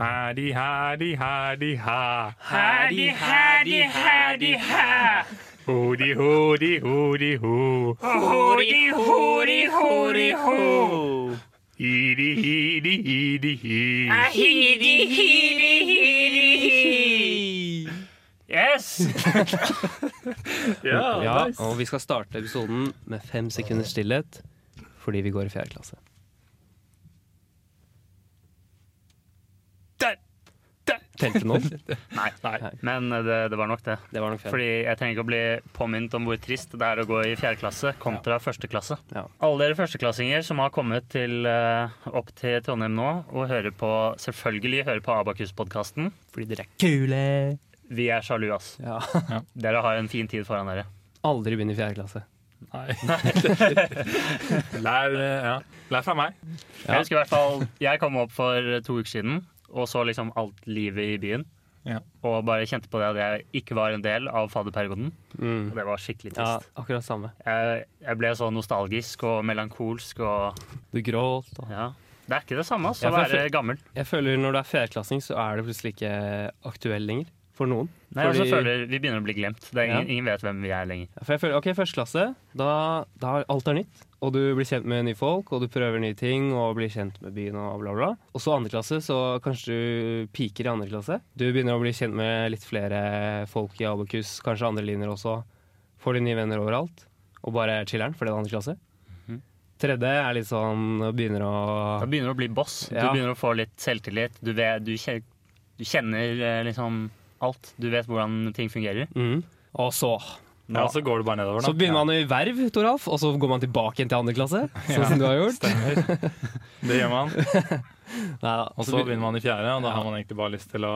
Hædi, hædi, hædi, hæ. Hædi, hædi, hædi, hæ. Hodi, hodi, hodi, ho. Hori, hori, hori, ho. Hidi, hidi, hidi, hi. Ahidi, hidi, hidi, hi. Yes! ja, Ja, nice. og vi skal starte episoden med fem sekunders stillhet fordi vi går i fjerde klasse. Der! Der! Telte nå? Nei, nei. men eh, det, det var nok det. Det var nok fem. Fordi jeg trenger ikke å bli påminnet om hvor trist det er å gå i fjerde klasse kontra første klasse. Ja. Alle dere førsteklassinger som har kommet til, eh, opp til Trondheim nå og hører på, selvfølgelig hører på Abakus-podkasten. Fordi dere er kule! Vi er sjalu, ass. Ja. Dere har en fin tid foran dere. Aldri begynn i fjerde klasse. Nei. Lær, eh, ja. Lær fra meg. Ja. Jeg husker i hvert fall Jeg kom opp for eh, to uker siden og så liksom alt livet i byen. Ja. Og bare kjente på det at jeg ikke var en del av fadderperioden. Og det var skikkelig Mm. Ja, trist. akkurat samme. Jeg, jeg ble så nostalgisk og melankolsk og Du gråt og Ja. Det er ikke det samme ass, Ja, å for jeg være gammel. Jeg føler når du er fjerdeklassing, så er det plutselig ikke aktuell lenger. For noen. Nei, altså, Fordi- føler Vi begynner å bli glemt. Det er ingen, Ja. ingen vet hvem vi er lenger. For jeg føler, ok, første klasse, da, da er alt er nytt. Og du blir kjent med nye folk, og du prøver nye ting, og blir kjent med byen og bla, bla. Og så andre klasse, så kanskje du piker i andre klasse. Du begynner å bli kjent med litt flere folk i Abakus, kanskje andre linjer også. Får dine nye venner overalt, og bare chiller'n, for det er andre klasse. Mhm. Tredje er litt sånn, begynner å Da begynner du å bli boss. Du Ja. begynner å få litt selvtillit. Du, vet, du, kje- du kjenner eh, liksom alt. Du vet hvordan ting fungerer. mm. Og så Ja, så går det bare nedover. da. Så begynner man i verv, Toralf, og så går man tilbake igjen til andre klasse, sånn som du har gjort. Ja, det gjør man. Neida, Og så begynner man i fjerde, og da har man egentlig bare lyst til å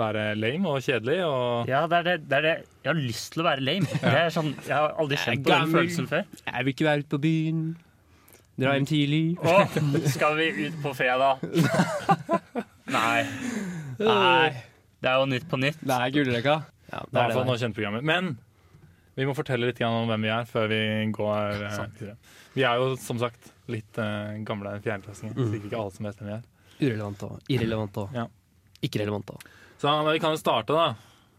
være lame og kjedelig. Og Ja, det er det, det er det. Jeg har lyst til å være lame. Det er sånn, jeg har aldri kjent på den gammel. følelsen før. Jeg vil ikke være ute på byen. Dra hjem tidlig. Og skal vi ut på fredag? Nei. Nei. Det er jo nytt på nytt. Det er gullrekka. Ja, det er noe kjent programmet. Men vi må fortelle litt grann om hvem vi er, før vi går eh, videre. Vi er jo som sagt litt eh, gamle fjerdeklassinger. Mm. så Sikkert ikke alle som vet hvem vi er. Urelevant og irrelevant og Ja. ikke relevant og Så men vi kan jo starte, da.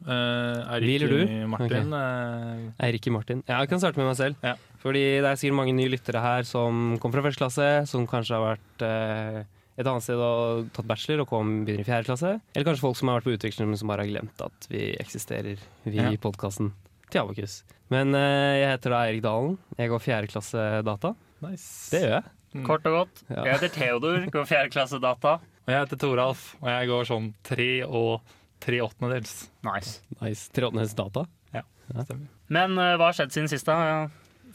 Uh, Vil du? Martin. eh, Eirik og Martin. Ja, jeg kan starte med meg selv. Ja. Fordi det er sikkert mange nye lyttere her som kom fra første klasse, som kanskje har vært eh, et annet sted og tatt bachelor og kom begynner i fjerde klasse. Eller kanskje folk som har vært på utveksling, men som bare har glemt at vi eksisterer, vi Ja. i podkasten til Abakus. Men eh, jeg heter da Eirik Dalen. Jeg går fjerde klasse data. nice. Det gjør jeg. Kort og godt. Ja. Jeg heter Theodor, går fjerde klasse data. Og jeg heter Toralf, og jeg går sånn tre og tre åttendedels. Nice. Nice. Trådnes data. Stemmer. Men eh, hva har skjedd siden sist, da?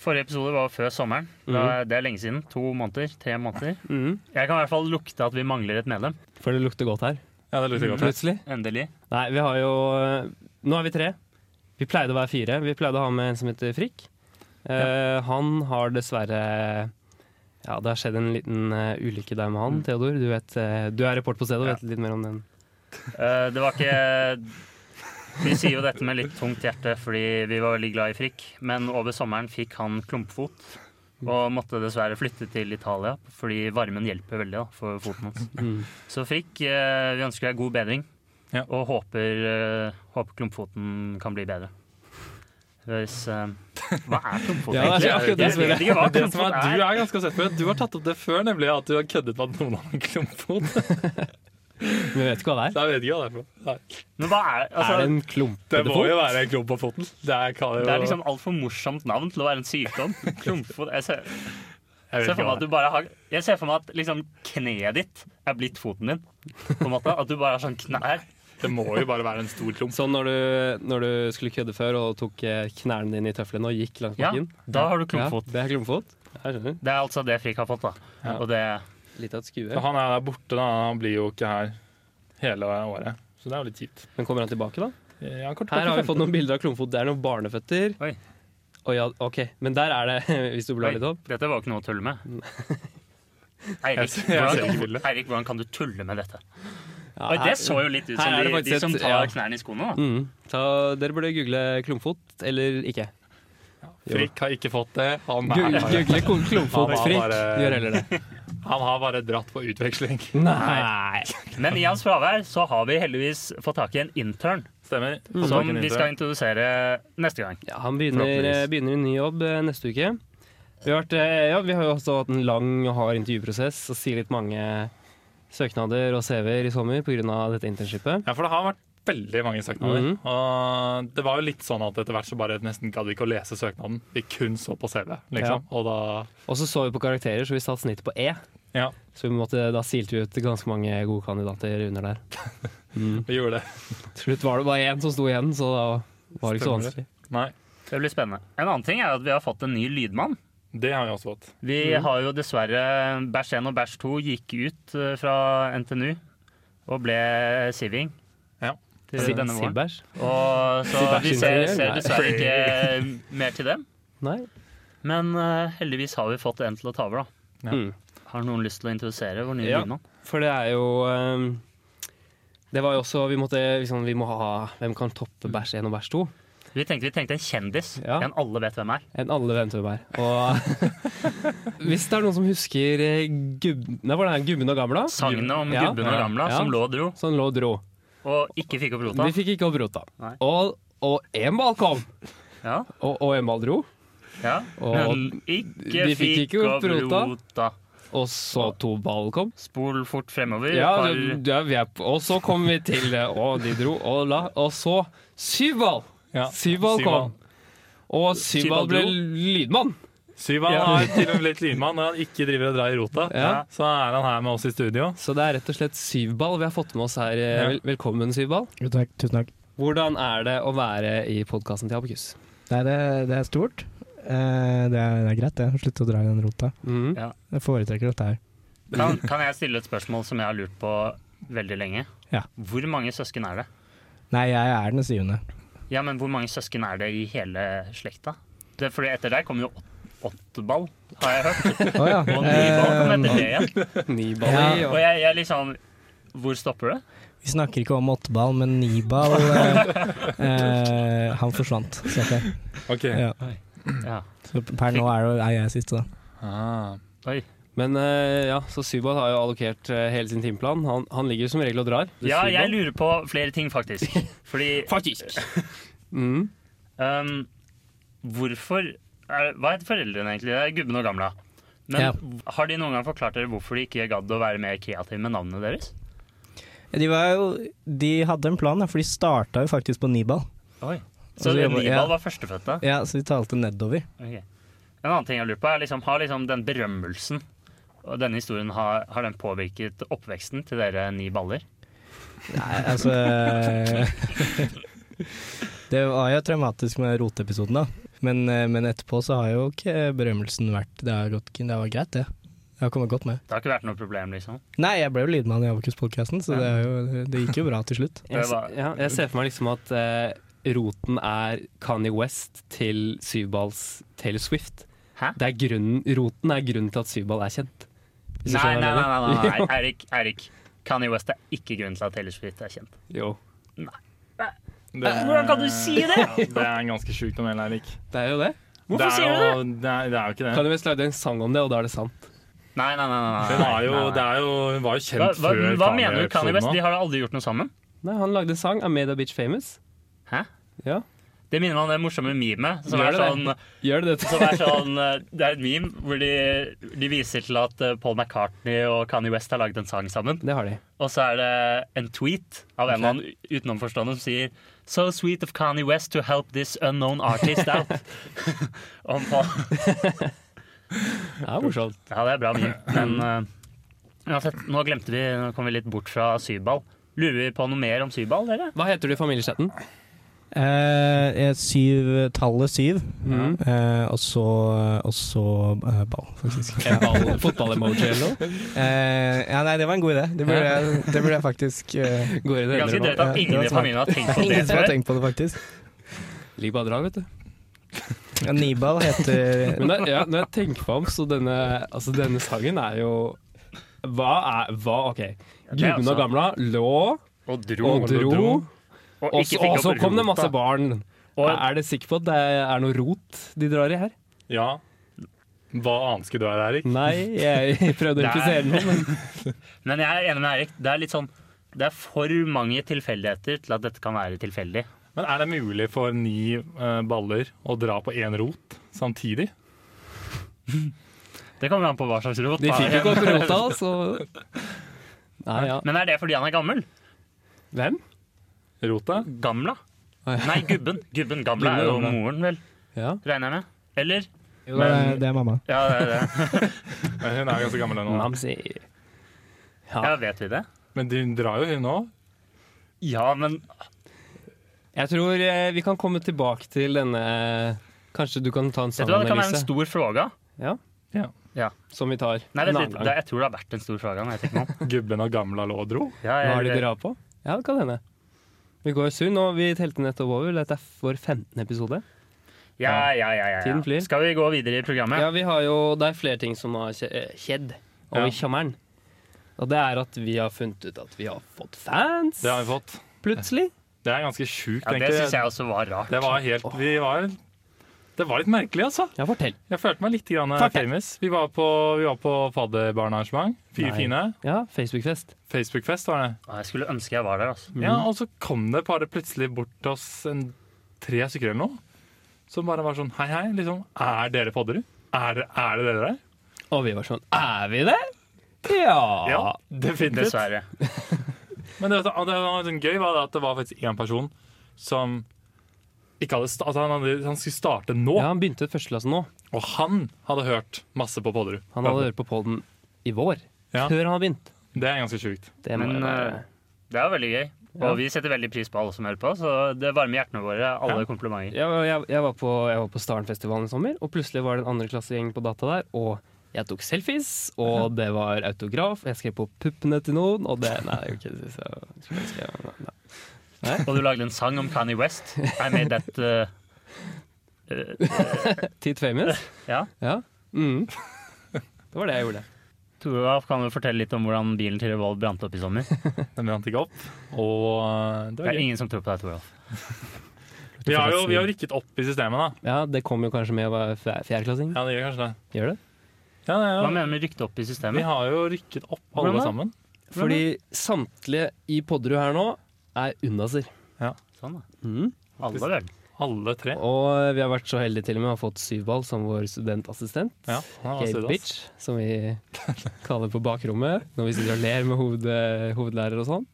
Forrige episode var før sommeren. Da- Det er lenge siden. To måneder. Tre måneder. Mhm. Jeg kan i hvert fall lukte at vi mangler et medlem. For det lukter godt her. Ja, det lukter godt. Plutselig. Endelig. Nei, vi har jo eh, Nå er vi tre. Vi pleide å være fire. Vi pleide å ha med en som heter Frikk. Eh, Han har dessverre Ja, det har skjedd en liten eh, ulykke der med Mm. han, Theodor. Du, vet, eh, du er reporter på stedet og vet litt mer om den. Eh, Det var ikke Vi sier jo dette med litt tungt hjerte fordi vi var veldig glad i Frikk, men over sommeren fikk han klumpfot. Og måtte dessverre flytte til Italia, fordi varmen hjelper veldig da, for foten hans. Mm. Så Frikk, eh, vi ønsker deg god bedring, Ja. og håper, eh, håper klumpfoten kan bli bedre. Hvis, eh, hva er klumpfot Ja, det er egentlig? akkurat det Jeg som er- vet ikke hva Det som er, klumpfot du er. er ganske sett på det. Du har tatt opp det før, nemlig at du har køddet med at noen har en klumpfot. Så Vi vet ikke hva det er. Jeg vet ikke hva det er for noe. Nei. Men hva er, Er det altså, en Det klumpete må fot? jo være en klump på foten. Det er, kan jo, det er liksom altfor morsomt navn til å være en sykdom. Klumpfot. Jeg ser, jeg vet ser ikke for hva meg at det du bare har Jeg ser for meg at liksom kneet ditt er blitt foten din. På en måte At du bare har sånn knær. er. Det må jo bare være en stor klump. Sånn når du, når du skulle kødde før og tok eh, knærne dine i tøflene og gikk langs Ja, bakken. da har du Ja, klumpfot. det er klumpfot. Jeg skjønner. Det er altså det Frikk har fått, da. Ja. Og det Litt av et skue. Så han er der borte, da. Han blir jo ikke her hele året. Så det er jo litt kjipt. Men kommer han tilbake, da? Ja, kort, Her har vi fått noe noen bilder av klumpfot. Det er noen barneføtter. Oi. Å ja, ok. Men der er det, hvis du blar litt opp. Oi, Dette var jo ikke noe å tulle med. Jeg Eirik, ser- jeg ser ikke hvordan, bildet. Eirik, hvordan kan du tulle med dette? Ja, Oi, her- det så jo litt ut som her er de, det de faktisk som et- tar ja. knærne i skoene. da Mm. Ta, dere burde google klumpfot, eller ikke. Frikk har ikke fått det. Han Gu- Google er Han var klumpfotfrikk, bare- gjør heller det. Han har bare dratt på utveksling. Nei! Men i hans fravær så har vi heldigvis fått tak i en intern Stemmer. som vi skal introdusere neste gang. Ja, han begynner, Forhåpentligvis. begynner i ny jobb eh, neste uke. Vi har, vært, eh, ja, vi har jo også hatt en lang og hard intervjuprosess og silet mange søknader og CV-er i sommer pga. dette internshipet. Ja, for det har vært veldig mange søknader. Mhm. Og det var jo litt sånn at etter hvert så bare nesten gadd vi ikke å lese søknaden. Vi kun så på CV, liksom. Og da Og så så vi på karakterer, så vi satte snittet på E. Ja, Så vi måtte, da silte vi ut ganske mange gode kandidater under der. Mm. vi gjorde det. Til slutt var det bare én som sto igjen, så da var det ikke så Stemmer vanskelig. Nei, Det blir spennende. En annen ting er at vi har fått en ny lydmann. det har vi også fått. Vi Mm. har jo dessverre Bæsj 1 og Bæsj 2 gikk ut eh, fra NTNU og ble siving Ja. til Si- denne våren. Silbæsj? Og så vi ser, Silbæsj-ingeniør? ser Nei. dessverre ikke mer til dem. Nei. Men eh, heldigvis har vi fått en til å ta over, da. Ja. Mm. Har noen lyst til å introdusere vår nye Ja. lydmann? For det er jo ehm, Det var jo også Vi måtte liksom Vi må ha Hvem kan toppe bæsj 1 og bæsj 2? Vi tenkte, vi tenkte en kjendis. Ja. En alle vet hvem er. Enn alle venter på meg. Og hvis det er noen som husker eh, gubb... Nei, var det her Gubben og gamla? Sagnet om Ja. gubben og Ja. gamla Ja. som lå og dro Som lå og dro. og ikke fikk opp rota. De fikk ikke opp rota. Nei. Og, og en ball kom! Ja. Og, og en ball dro. Ja. Og Men ikke de fikk ikke opp rota. rota. Og så to ball kom. Spol fort fremover. Ja, Par- ja, vi er på. Og så kom vi til det, og de dro, og la Og så syv ball! Ja. Syv ball kom. Og syv Syv ball ball ble dro. lydmann. Syvan Ja. har til og med blitt lydmann når han ikke driver og drar i rota. Ja. Så er han her med oss i studio. Så det er rett og slett syv ball vi har fått med oss her. eh, Ja. Vel, velkommen, syv ball. Jo, takk. Tusen takk. Hvordan er det å være i podkasten til Abakus? Nei, det, det er stort. Eh, det, er, det er greit, det. Slutt å dra i den rota. Mhm. Ja. Jeg foretrekker dette her. Kan, kan jeg stille et spørsmål som jeg har lurt på veldig lenge? Ja. Hvor mange søsken er det? Nei, jeg er den syvende. Ja, men hvor mange søsken er det i hele slekta? Det er fordi etter deg kommer jo åt- åtteball, har jeg hørt. Å ja. Og nyball kom etter Eh, det igjen. Ni ball i, Ja. Og jeg, jeg liksom Hvor stopper det? vi snakker ikke om åtteball, men niball eh, eh, Han forsvant, så jeg. Ok. Ja. Ja. Så per nå er, det, er jeg siste, da. Ah. Oi. Men eh, ja, så Sybat har jo allokert eh, hele sin timeplan. Han, han ligger jo som regel og drar. ja, jeg lurer på flere ting, faktisk. Fordi Faktisk! Mm. um, Hvorfor er, Hva heter foreldrene egentlig? Det er gubben og gamla. Men Ja. har de noen gang forklart dere hvorfor de ikke gadd å være mer kreative med navnet deres? De, var jo, de hadde en plan, da, for de starta jo faktisk på niball. Oi. Og Så så jobber- Nibal ja. var førstefødte? Ja, så de talte nedover. Ok. En annen ting jeg lurer på er liksom, Har liksom den berømmelsen og denne historien har, har den påvirket oppveksten til dere ni baller? Nei, altså eh, Det var jo traumatisk med roteepisoden, da. Men, eh, men etterpå så har jo ikke berømmelsen vært Det har gått det var greit, det. Jeg har kommet godt med. Det har ikke vært noe problem, liksom? Nei, jeg ble jo lydmann i Abokus-podkasten, så det, er jo, det gikk jo bra til slutt. Jeg, Det var- se- ja, jeg ser for meg liksom at eh, roten er Kanye West til Syvballs Taylor Swift. Hæ? Det er grunnen, roten er grunnen til at Syvball er kjent. Hvis du Nei, skjønner nei, nei, hva jeg nei, nei, mener. nei. Eirik, Eirik. Kanye West er ikke grunnen til at Taylor Swift er kjent. Jo. Det, Eh, Hvordan kan du si det?! Ja, det er en ganske sjukt om Eirik. Det er jo det. Hvorfor Det er sier du det?! jo- Det er, det er jo ikke det. Kanye West lagde en sang om det, og da er det sant. Nei, nei, nei. nei, Hun nei, er jo, nei, nei. det er jo, hun var jo kjent Hva, hva, før hva mener du, Kanye West? Kanye-episoden De har da aldri gjort noe sammen? Nei, han lagde en sang, I Made a Bitch Famous. Hæ? Ja. Det minner meg om det morsomme memet som Gjør er det sånn det? Gjør det det til Som er sånn, eh, det er et meme hvor de, de viser til at eh, Paul McCartney og Kanye West har laget en sang sammen. Det har de. Og så er det en tweet av en eller annen utenomforstående som sier So sweet of Kanye West to help this unknown artist out. Om Paul. Det er morsomt. Ja, det er bra mye. Men eh, uansett, nå glemte vi, nå kom vi litt bort fra Syball. Lurer vi på noe mer om Syball, dere? Hva heter du i familiechatten? Eh, eh, syv, tallet syv, Mhm. eh, og så, og så eh, ball, faktisk. En ball, fotball-emoji eller noe? Eh, ja, nei, det var en god idé. Det burde jeg, det burde jeg faktisk eh, Går i Det det er ganske endre drøyt nå. at Ja, det ingen var i smart. familien har tenkt på det. Ingen som har før. tenkt på det, faktisk. Ligg bare drag, vet du. Ja, niball heter Men det, ja, når jeg tenker på ham, så denne, altså denne sangen er jo Hva er Hva? OK. det er Gubben og altså- gamla lå Og dro. og dro, Og, og ikke så, fikk og så opp kom rota. det masse barn. Og Er dere sikre på at det er noe rot de drar i her? Ja, Hva annet skulle du være, Erik? Nei, jeg prøvde å Nei. infisere noe, men Men jeg er enig med Erik. Det er litt sånn det er for mange tilfeldigheter til at dette kan være tilfeldig. Men er det mulig for ni eh, baller å dra på én rot samtidig? Det kommer an på hva slags rot. de da. fikk jo ikke opp rota, så Nei, ja. Men er det fordi han er gammel? Hvem? Rota? Gamla? Å, ja. Nei, gubben. Gubben Gamla er jo Gubben, ja. moren, vel. Ja. Regner jeg med. Eller? Jo, det, er, det er mamma. Ja, det er det. Nei, Hun er ganske gammel ennå. Mamsi. ja, Ja. vet vi det? Men hun drar jo, hun òg. Ja, men Jeg tror eh, vi kan komme tilbake til denne Kanskje du kan ta en vet du hva, det kan være en sanganalyse stor fråga. som vi tar Nei, en vent annen litt. Det, gang. jeg tror det har vært en stor fråga. men Jeg vet ikke nå. Gubben og gamla lå og dro. Ja, Hva har de jeg- dra på? Ja, det kan hende. Vi går sunn, og vi telte nettopp over. Dette er vår 15. episode. ja, ja, ja, ja, Tiden ja. flyr. Skal vi gå videre i programmet? Ja, vi har jo, Det er flere ting som har skje- eh, skjedd over Ja. sommeren. Og det er at vi har funnet ut at vi har fått fans Det har vi fått. plutselig. Det er ganske sjukt, Ja, Det egentlig. syns jeg også var rart. Det var helt Vi var Det var litt merkelig, altså. Ja, fortell. Jeg følte meg litt grann Takk. famous. Vi var på, vi var på fadderbarnarrangement. Fire Nei. fine. Ja, Facebook-fest. Facebook-fest var det. Ja, Jeg skulle ønske jeg var der. altså. Ja, og så kom det bare plutselig bort til oss en, tre stykker eller noe. Som bare var sånn hei, hei, liksom. Er dere Podderud? Er, det- er det dere der? Og vi var sånn Er vi det? Ja. Ja, definitivt. Dessverre. Men det, var- det var sånn gøy var det at det var faktisk én person som ikke hadde, sta- altså han, hadde, han skulle starte nå, Ja, Han begynte førsteklassen nå. og han hadde hørt masse på Podderud. Han hadde hørt på poden i vår. Ja. Før han har begynt. Det er ganske sjukt. Det må Men jo være eh, det er veldig gøy. Ja. Og vi setter veldig pris på alle som hører på, så det varmer hjertene våre. Alle komplimenter. jeg, jeg, jeg, var på, jeg var på Starenfestivalen i sommer, og plutselig var det en andreklassegjeng på data der. Og jeg tok selfies, og det var autograf, og jeg skrev på puppene til noen, og det Nei, ok, så, så, så, nei. Og du lagde en sang om Kanye West. I made that uh, uh, Tit famous. Ja. Ja. Mm. Det var det jeg gjorde. Tora, kan du fortelle litt om hvordan bilen til Revolve brant opp i sommer? Den brant ikke opp. Og eh, det Det var er gøy. ingen som tror på deg, Toralf. Vi har jo vi har rykket opp i systemet, da. Ja, Det kom jo kanskje med å være fjer- fjerdeklassing. Ja, det gjør kanskje det. Gjør det? Ja, det er Hva jo. mener du med rykte opp i Vi systemet? har jo rykket opp Hvordan alle da? sammen. Fordi samtlige i Podderud her nå er unnaser. Sånn da. Mm. Alle vel. Alle tre. Og vi har vært så heldige til og med å ha fått Syvball som vår studentassistent. Ja, han var Gabe Ah, søt, ass. Bitch, som vi kaller på bakrommet når vi sitter og ler med hoved, hovedlærer og sånn.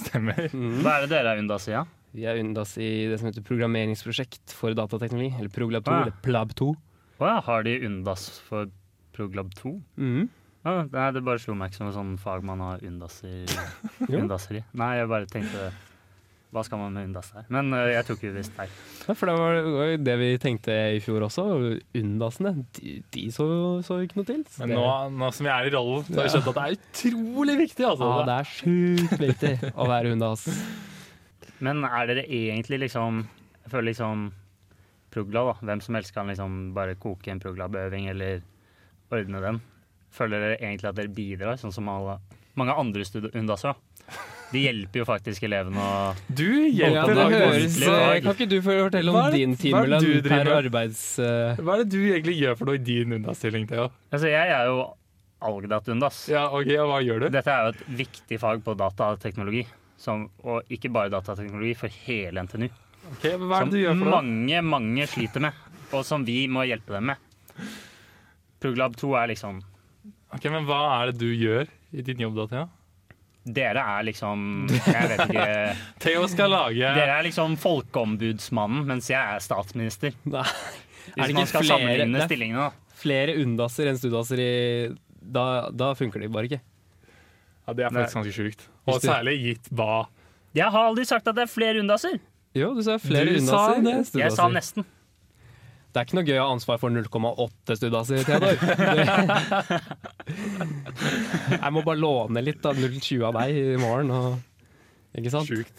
Stemmer. Mm. Hva er det dere er unna sida? Vi er undas i det som heter programmeringsprosjekt for datateknologi, eller Proglab 2, Ah. eller Plab 2. Å ja, har de undas for Proglab 2? Mm. Ah, nei, det bare slo meg ikke som et sånn fag man har undaser, Jo. undaser i. Nei, jeg bare tenkte Hva skal man med undas her? Men eh, jeg tok jo visst feil. Ja, for det var var jo det vi tenkte i fjor også. Undasene, de, de så, så ikke noe til. Så Men det- nå, nå som jeg er i rollen, så har jeg skjønt at det er utrolig viktig. Altså. Ja, Ah, det er sjukt viktig å være undas. Men er dere egentlig liksom Jeg føler liksom progla, da. Hvem som helst kan liksom bare koke en proglab-øving eller ordne den. Føler dere egentlig at dere bidrar, sånn som alle, mange andre stud- undaser? da? De hjelper jo faktisk elevene å Du Ja, hjelper det meg høres, ordentlig. lag. kan ikke du fortelle Hva er om det- din hva er det timelønn du per driver med? arbeids... eh, Hva er det du egentlig gjør for noe i din unndastilling, Theo? Altså, jeg er jo Algdat-undas. Ja, ok, og hva gjør du? Dette er jo et viktig fag på datateknologi. Som, og ikke bare datateknologi, for hele NTNU. Ok, men hva er Som det du gjør for noe? mange, mange sliter med, og som vi må hjelpe dem med. Proglab 2 er liksom Ok, men hva er det du gjør i din jobb da, Theo? Dere er liksom Jeg vet ikke Theo skal lage Dere er liksom folkeombudsmannen, mens jeg er statsminister. Nei. Hvis man skal det sammenligne er stillingene, da. flere undaser enn studaser i da, da funker det bare ikke. Ja, det er faktisk ganske sjukt. Og Hvis du- særlig gitt hva Jeg har aldri sagt at det er flere undaser. Jo, du sa flere Du sa undaser det. enn Jeg sa studaser. nesten. Det er ikke noe gøy å ha ansvar for 0,8 studaser, Theodor. Det- Jeg må bare låne litt av 0,20 av deg i morgen. Og, ikke sant? sjukt.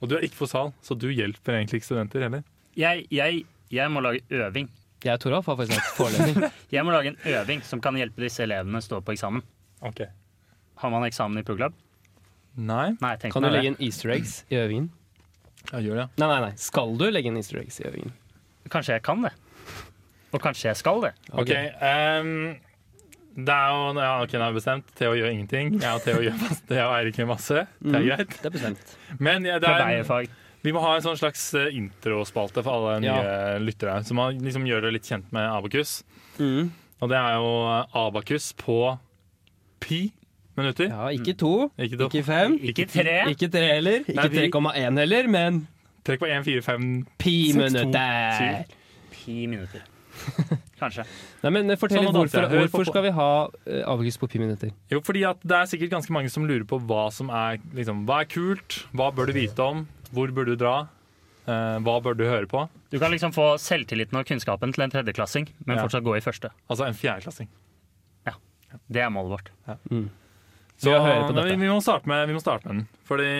Og du er ikke på sal, så du hjelper egentlig ikke studenter heller. Jeg, jeg, jeg må lage øving. Jeg og Toralf har faktisk hatt forelesning. Jeg må lage en øving som kan hjelpe disse elevene å stå på eksamen. Ok. Har man eksamen i Proglab? Nei, Nei, tenk Kan du meg det. legge inn easter eggs i øvingen? jeg gjør det. Nei, nei, nei. Skal du legge inn easter eggs i øvingen? Kanskje jeg kan det. Og kanskje jeg skal det. Ok, ehm, det er jo ja, ok, det er bestemt. Theo gjør ingenting. Jeg og Theo gjør masse. Theo og Eirik gjør masse. Det er Mm. greit. Det er bestemt. Men ja, det Fra er, deg, fag. vi må ha en sånn slags eh, introspalte for alle nye lyttere. Så man liksom gjør det litt kjent med Abakus. Mm. Og det er jo eh, Abakus på pi minutter. Ja, ikke to, Ikke det? ikke fem, Ikke tre. ikke tre heller. Ikke Nei, vi- 3,1 heller, men Trekk på 1, 4, 5 pi Seks, to, minutter. Ti minutter. Kanskje. Nei, men eh, fortell Sånn litt hadde jeg hvorfor, hørt på- hvorfor skal vi ha eh, avgift på pi minutter? Jo, fordi at det er sikkert ganske mange som lurer på hva som er liksom, Hva er kult? Hva bør du vite om? Hvor bør du dra? Eh, hva bør du høre på? Du kan liksom få selvtilliten og kunnskapen til en tredjeklassing, men Ja. fortsatt gå i første. Altså en fjerdeklassing. Det er målet vårt. Så Vi må høre på men vi, dette. vi, må starte med, vi må starte med den. Fordi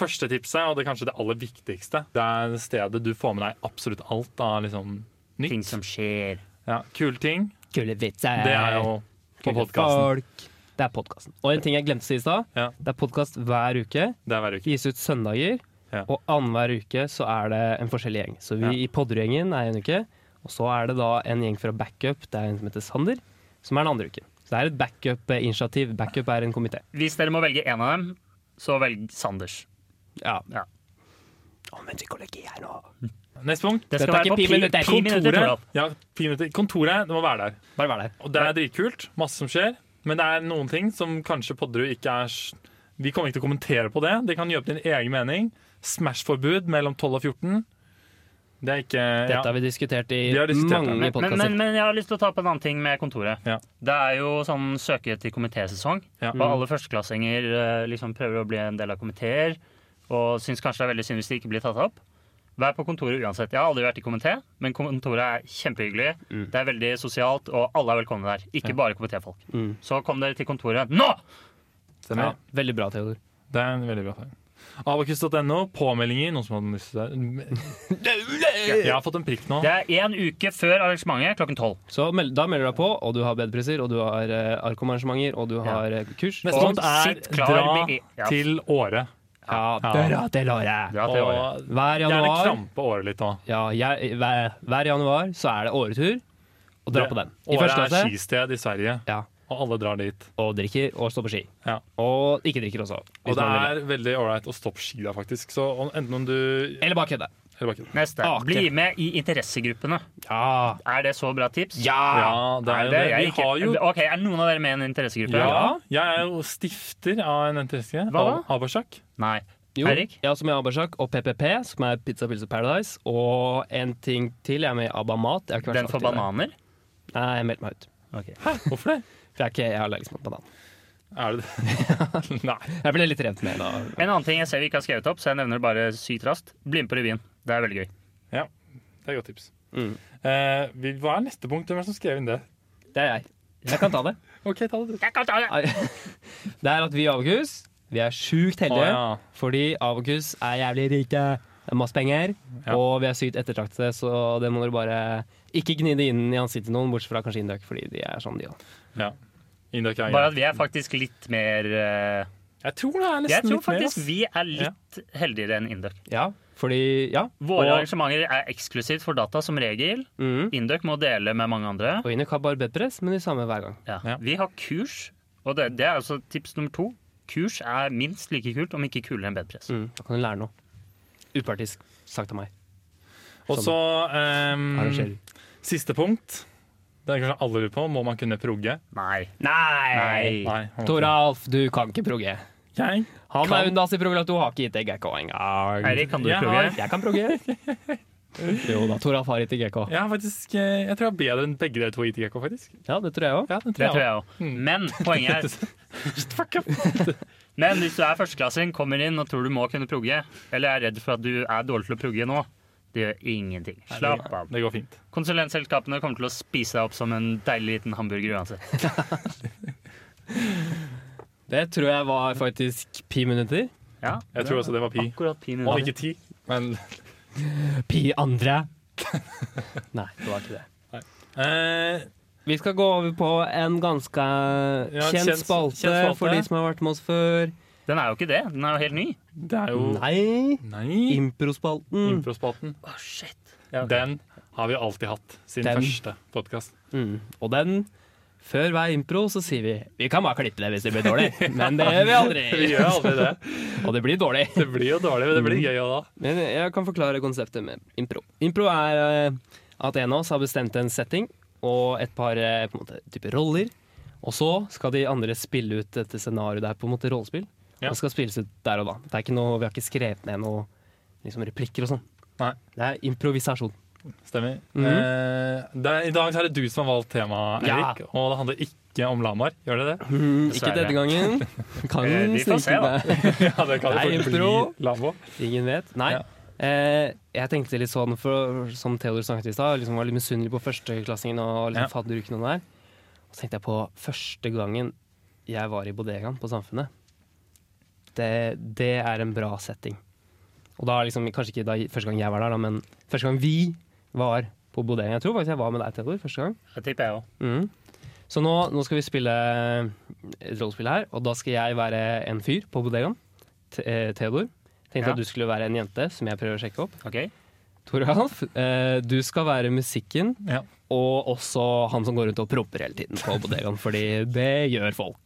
første tipset, og det er kanskje det aller viktigste, det er stedet du får med deg absolutt alt av liksom nytt. Ting som skjer. Ja, Kule ting. Kule vitser. Det er jo Eh, på podkasten. Folk. Det er podkasten. Og en ting jeg glemte å si i stad. Ja. Det er podkast hver uke. Det er hver uke. Gis ut søndager. Ja. Og annenhver uke så er det en forskjellig gjeng. Så vi Ja. i Podderud-gjengen er en uke. Og så er det da en gjeng fra Backup, det er en som heter Sander, som er den andre uken. Så det er et backup-initiativ. Backup er en komité. Hvis dere må velge én av dem, så velg Sanders. Ja. Ja. Allmenn psykologi her nå. Neste punkt. Det Dette skal er være ikke på pi pi minutter, minutter. Pi minutter Toralf. Ja, ti minutter. Kontoret, det må være der. Bare vær der. Og det er dritkult. Masse som skjer. Men det er noen ting som kanskje Podderud ikke er s- Vi kommer ikke til å kommentere på det. De kan gjøre opp din egen mening. Smash-forbud mellom 12 og 14. Det er ikke Dette ja. har vi diskutert i Vi har diskutert det. mange Men, men, men, podkaster. men jeg har lyst til å ta opp en annen ting med kontoret. Ja. Det er jo sånn søke til komitésesong, Ja. og alle førsteklassinger eh, liksom prøver å bli en del av komiteer, og syns kanskje det er veldig synd hvis de ikke blir tatt opp. Vær på kontoret uansett. Jeg har aldri vært i komité, men kontoret er kjempehyggelig. Det er veldig sosialt, og alle er velkomne der. Ikke bare komitéfolk. Mm. Så kom dere til kontoret nå! Stemmer. Ja, veldig bra, Theodor. Det er en veldig bra poeng. Abakus.no, påmeldinger. Noen som hadde lyst til det? Jeg har fått en prikk nå. Det er én uke før arrangementet klokken tolv. Så meld, da melder du deg på, og du har bedpriser, og du har eh, arrangementer, og du har eh, kurs. Neste Og punkt er sitt klar dra med- ja. til Åre. Ja, Ja. dra til året! Dra til året. Og Hver gjerne januar, krampe året litt òg. ja, jeg, hver, hver januar så er det åretur, og dra på den. I Åre første er klasse. skisted i Sverige, Ja, og alle drar dit. og drikker, og står på ski. Ja. Og ikke drikker også. hvis Og det man vil det. er veldig ålreit å stoppe ski der, faktisk. Så om- enten om du Eller bare kødde. Eller bare ikke. Neste. Ake. Bli med i interessegruppene. Ja. Er det så bra tips? Ja, det er Er det? jo det. Jeg Vi er ikke- har jo Ok, Er noen av dere med i en interessegruppe? Ja, jeg er jo stifter av en Hva NTSG. da? Abasak. Nei. Jo, Eirik? Ja, som er Abersak, og PPP, som er Pizza Pils og Paradise. Og en ting til, jeg er med i Abba Mat. Jeg har ikke vært Den så for aktiv der. bananer? Nei, jeg meldte meg ut. Hvorfor det? For jeg er ikke jeg er allergisk mot banan. Er det det? Nei. Jeg ble litt rent med da. En annen ting jeg ser vi ikke har skrevet opp, så jeg nevner det bare sykt raskt. Bli med på revyen. Det er veldig gøy. Ja, det er et godt tips. Mm. Eh, vi- hva er neste punkt? Hvem er det som skrev inn det? Det er jeg. Jeg kan ta det. OK, ta det, du. Jeg kan ta det! Nei. Det er at vi i Abokus vi er sjukt heldige, Å, ja. fordi Abokus er jævlig rike. Det er masse penger, Ja. og vi er sykt ettertraktede, så det må dere bare ikke gni det inn i ansiktet til noen, bortsett fra kanskje Indøk, fordi de er sånn, de òg. Ja. Indok er Bare greit. at vi er faktisk litt mer eh, Jeg tror det er nesten Jeg tror litt mer, faktisk ass. vi er litt heldigere enn Induc. Ja, fordi Ja. Våre og, arrangementer er eksklusivt for data som regel. mm, Mhm. Induc må dele med mange andre. og Indøk har bare bedpress, men de samme hver gang. Ja. Ja. Vi har kurs, og det, det er altså tips nummer to. Kurs er minst like kult, om ikke kulere enn bedpress. Mm, da kan du lære noe. Upartisk sagt av meg. Og så ehm, Arrangerer. Siste punkt. Det er kanskje alle lurer på. Må man kunne progge? Nei. Nei! Nei. man må Toralf, du kan ikke progge. ikke. Jeg Han Kan- er undas i progelator, du har ikke gitt deg GK engang. Eirik, kan du Jeg prøve? har- Jeg kan progge. jo da, Toralf har ikke GK. Jeg, har faktisk, eh, jeg tror jeg er bedre enn begge dere to i ITGK, faktisk. Ja, det tror jeg òg. Ja, den Det tror jeg jeg òg. Men poenget er Men hvis du er førsteklassing, kommer inn og tror du må kunne progge, eller er redd for at du er dårlig til å progge nå, det gjør ingenting. Slapp også. av. Det går fint. Konsulentselskapene kommer til å spise deg opp som en deilig liten hamburger uansett. Det tror jeg var faktisk pi minutter. Ja, Jeg tror også det var pi. akkurat pin Om ikke ti, men Pi andre. Nei, det var ikke det. eh, Vi skal gå over på en ganske kjent, kjent- spalte, kjent spalte. for de som har vært med oss før. Den er jo ikke det. Den er jo helt ny. Det er jo Nei, Nei. improspalten. Improspalten. Å, shit. Den Har vi alltid hatt siden Den. første podkast. Mm. Og den før hver impro så sier vi vi kan bare klippe det hvis det blir dårlig, men det gjør vi Vi aldri. gjør aldri det. Og det blir dårlig. Det blir jo dårlig, men det Mm. blir gøy òg da. Men jeg kan forklare konseptet med impro. Impro er eh, at en av oss har bestemt en setting og et par eh, på en måte, type roller. Og så skal de andre spille ut dette scenarioet der på en måte rollespill. Ja. Og skal spilles ut der og da. Det er ikke noe, vi har ikke skrevet ned noe liksom replikker og sånn. Nei. Det er improvisasjon. Stemmer. Mhm. Eh, det er, I dag så er det du som har valgt temaet, Ja. Erik. Og det handler ikke om Lamar. Gjør det det? ikke Dessverre. denne gangen. Kan Eh, vi får se, snike da. deg. ja, det kan Nei, det fort impro. bli Lamo. Ingen vet. Nei. Ja. Eh, jeg tenkte litt sånn, for, som Theodor snakket i stad, liksom var litt misunnelig på førsteklassingen og Ja. liksom fadderuken og det der. Og så tenkte jeg på første gangen jeg var i bodegaen på Samfunnet. Det, det er en bra setting. Og da liksom, kanskje ikke da, første gang jeg var der, da, men første gang vi var på bodegaen. Jeg tror faktisk jeg var med deg, Theodor, første gang. Det tipper jeg òg. Mhm. Så nå, nå skal vi spille et rollespill her, og da skal jeg være en fyr på bodegaen. T eh, Theodor. Tenkte Ja. at du skulle være en jente, som jeg prøver å sjekke opp. Ok. Toralf, eh, du skal være musikken, Ja. og også han som går rundt og promper hele tiden på bodegaen, fordi det gjør folk.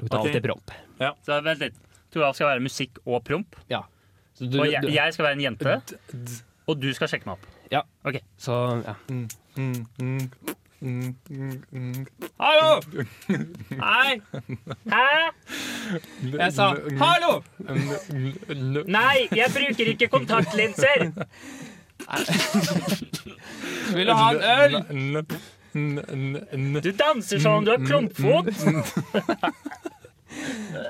Lukter Ok. alltid promp. Så vent litt. Toralf skal være musikk og promp. Så, du, og jeg, du, jeg skal være en jente, og du skal sjekke meg opp. så ja. Mm, mm, mm, mm, mm. Hallo! Nei! Hæ? Jeg sa hallo! Nei, jeg bruker ikke kontaktlinser! Vil du ha en øl? øl? Du danser som om du har klumpfot!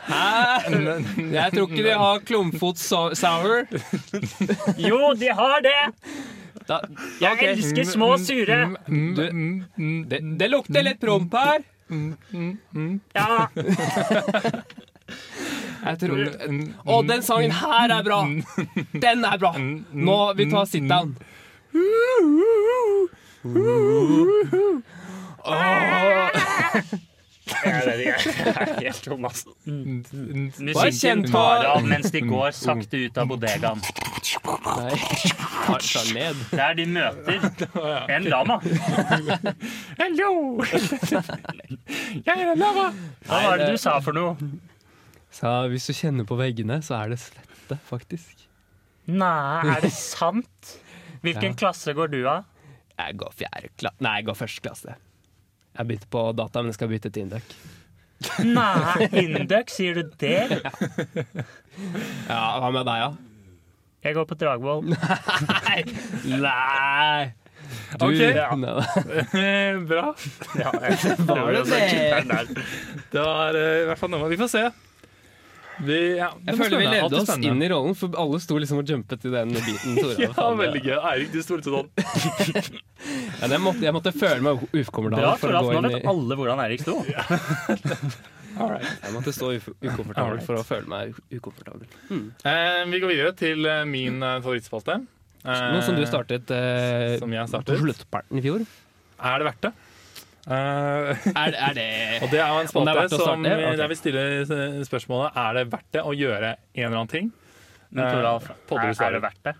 Hæ? Jeg tror ikke de har klumpfot so- sour. Jo, de har det! Da, Jeg ok. elsker små sure. Mm, Det, det lukter litt promp her. Ja, Jeg tror Og den sangen her er bra! Den er bra! Nå vi tar sit down. jeg vet ikke. Jeg er helt Thomas. Bare Musikken kjenn på- tar av mens de går sakte ut av bodegaen. Nei, ta- ta ned. Der de møter en lama. Hallo! Jeg er Lama. Hva var det du sa for noe? Så hvis du kjenner på veggene, så er det svette, faktisk. Nei, er det sant? Hvilken Ja. klasse går du av? Jeg går fjerde klasse Nei, jeg går første klasse. Jeg begynte på data, men jeg skal bytte til Induc. Nei, Induc, sier du det? Ja, hva med deg, da? Jeg går på Dragvoll. Nei! Du, Ok. ja. Nei, Eh, Bra. Ja, jeg prøver det å se det? skipperen der. Det var eh, i hvert fall noe. Vi får se. Vi, ja, det Jeg var føler vi spennende. Alltid levde oss spennende. inn i rollen, for alle sto liksom og jumpet i den biten. Tora, Ja, faen, veldig det- gøy. Eirik, du stolte sånn. Ja, det måtte, jeg måtte føle meg Bra, ukomfortabel for å Toralf. gå Nå inn i vet alle hvordan Eirik sto. Jeg måtte stå uf- ukomfortabel Alright. for å føle meg u- ukomfortabel. Eh, vi går videre til eh, min eh, favorittspalte. Eh, Noe som du startet eh, Som jeg på startet. sluttparten i fjor. Er det verdt det? Eh, Er, er det og det er jo en Om det spalte er verdt å som, starte? Ok. der vi stiller eh, spørsmålet Er det verdt det å gjøre en eller annen ting. Men Toralf, Eh, er, podder du er det verdt det?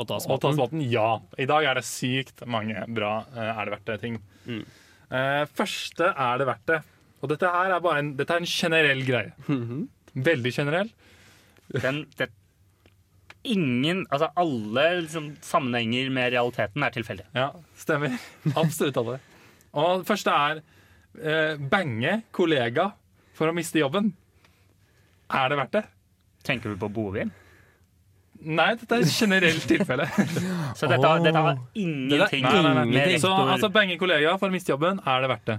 å ta Og ta spalten, ja. I dag er det sykt mange bra eh, er det verdt det-ting. Mm. Eh, første er det verdt det. Og dette her er bare en, dette er en generell greie. Mhm. Veldig generell. Den, det Ingen, altså alle liksom, sammenhenger med realiteten er tilfeldig. Ja, stemmer. Absolutt alle. Og det første er eh, bange kollega for å miste jobben. Er det verdt det? Tenker du på Bovin? Nei, dette er et generelt tilfelle. Så dette, har- Åh. dette har ingenting Nei, nei, nei. med rektor Så altså, bange kollega for å miste jobben, er det verdt det?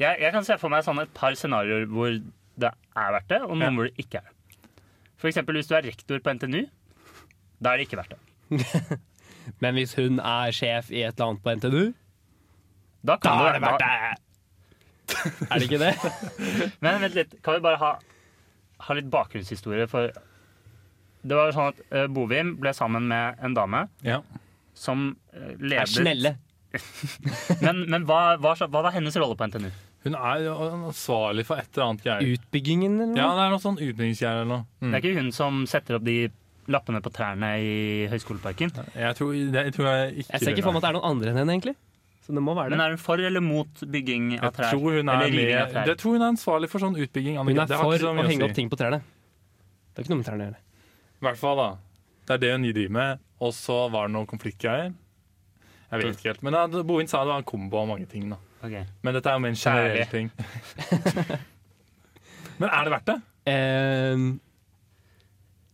jeg, jeg kan se for meg sånn et par scenarioer hvor det er verdt det, og noen Ja. hvor det ikke er det. For eksempel hvis du er rektor på NTNU, da er det ikke verdt det. Men hvis hun er sjef i et eller annet på NTNU, Da da kan er det verdt det! Er det ikke det? Da, men vent litt, kan vi bare ha, ha litt bakgrunnshistorie for Det var jo sånn at eh, Bovim ble sammen med en dame Ja. som eh, Er ledet snelle. Men, men hva, hva, hva var hennes rolle på NTNU? Mm. Hun er jo ansvarlig for et eller annet greier. Utbyggingen, eller Ja, noe? det er noe sånn utbyggingsgreier eller noe. Det er ikke hun som setter opp de lappene på trærne i Høgskoleparken. Jeg tror, jeg, tror jeg ikke Jeg ser ikke for meg at det er noen andre enn henne, egentlig. Så det må være Men det. er hun for eller mot bygging av Jeg trær? tror hun er, Eller riving av med, trær. jeg tror hun er ansvarlig for sånn utbygging. Anniken. Hun er Det har ikke for så mye å henge si. opp ting på trærne. Det er ikke noe med trærne å gjøre. I hvert fall, da. Det er det hun driver med. Og så var det noen konfliktgreier. Jeg vet ikke helt. Men da, Bovin sa det var en kombo av mange ting. da. Ok. Men dette er jo min generelle Kjærlig. ting. Men er det verdt det? Eh,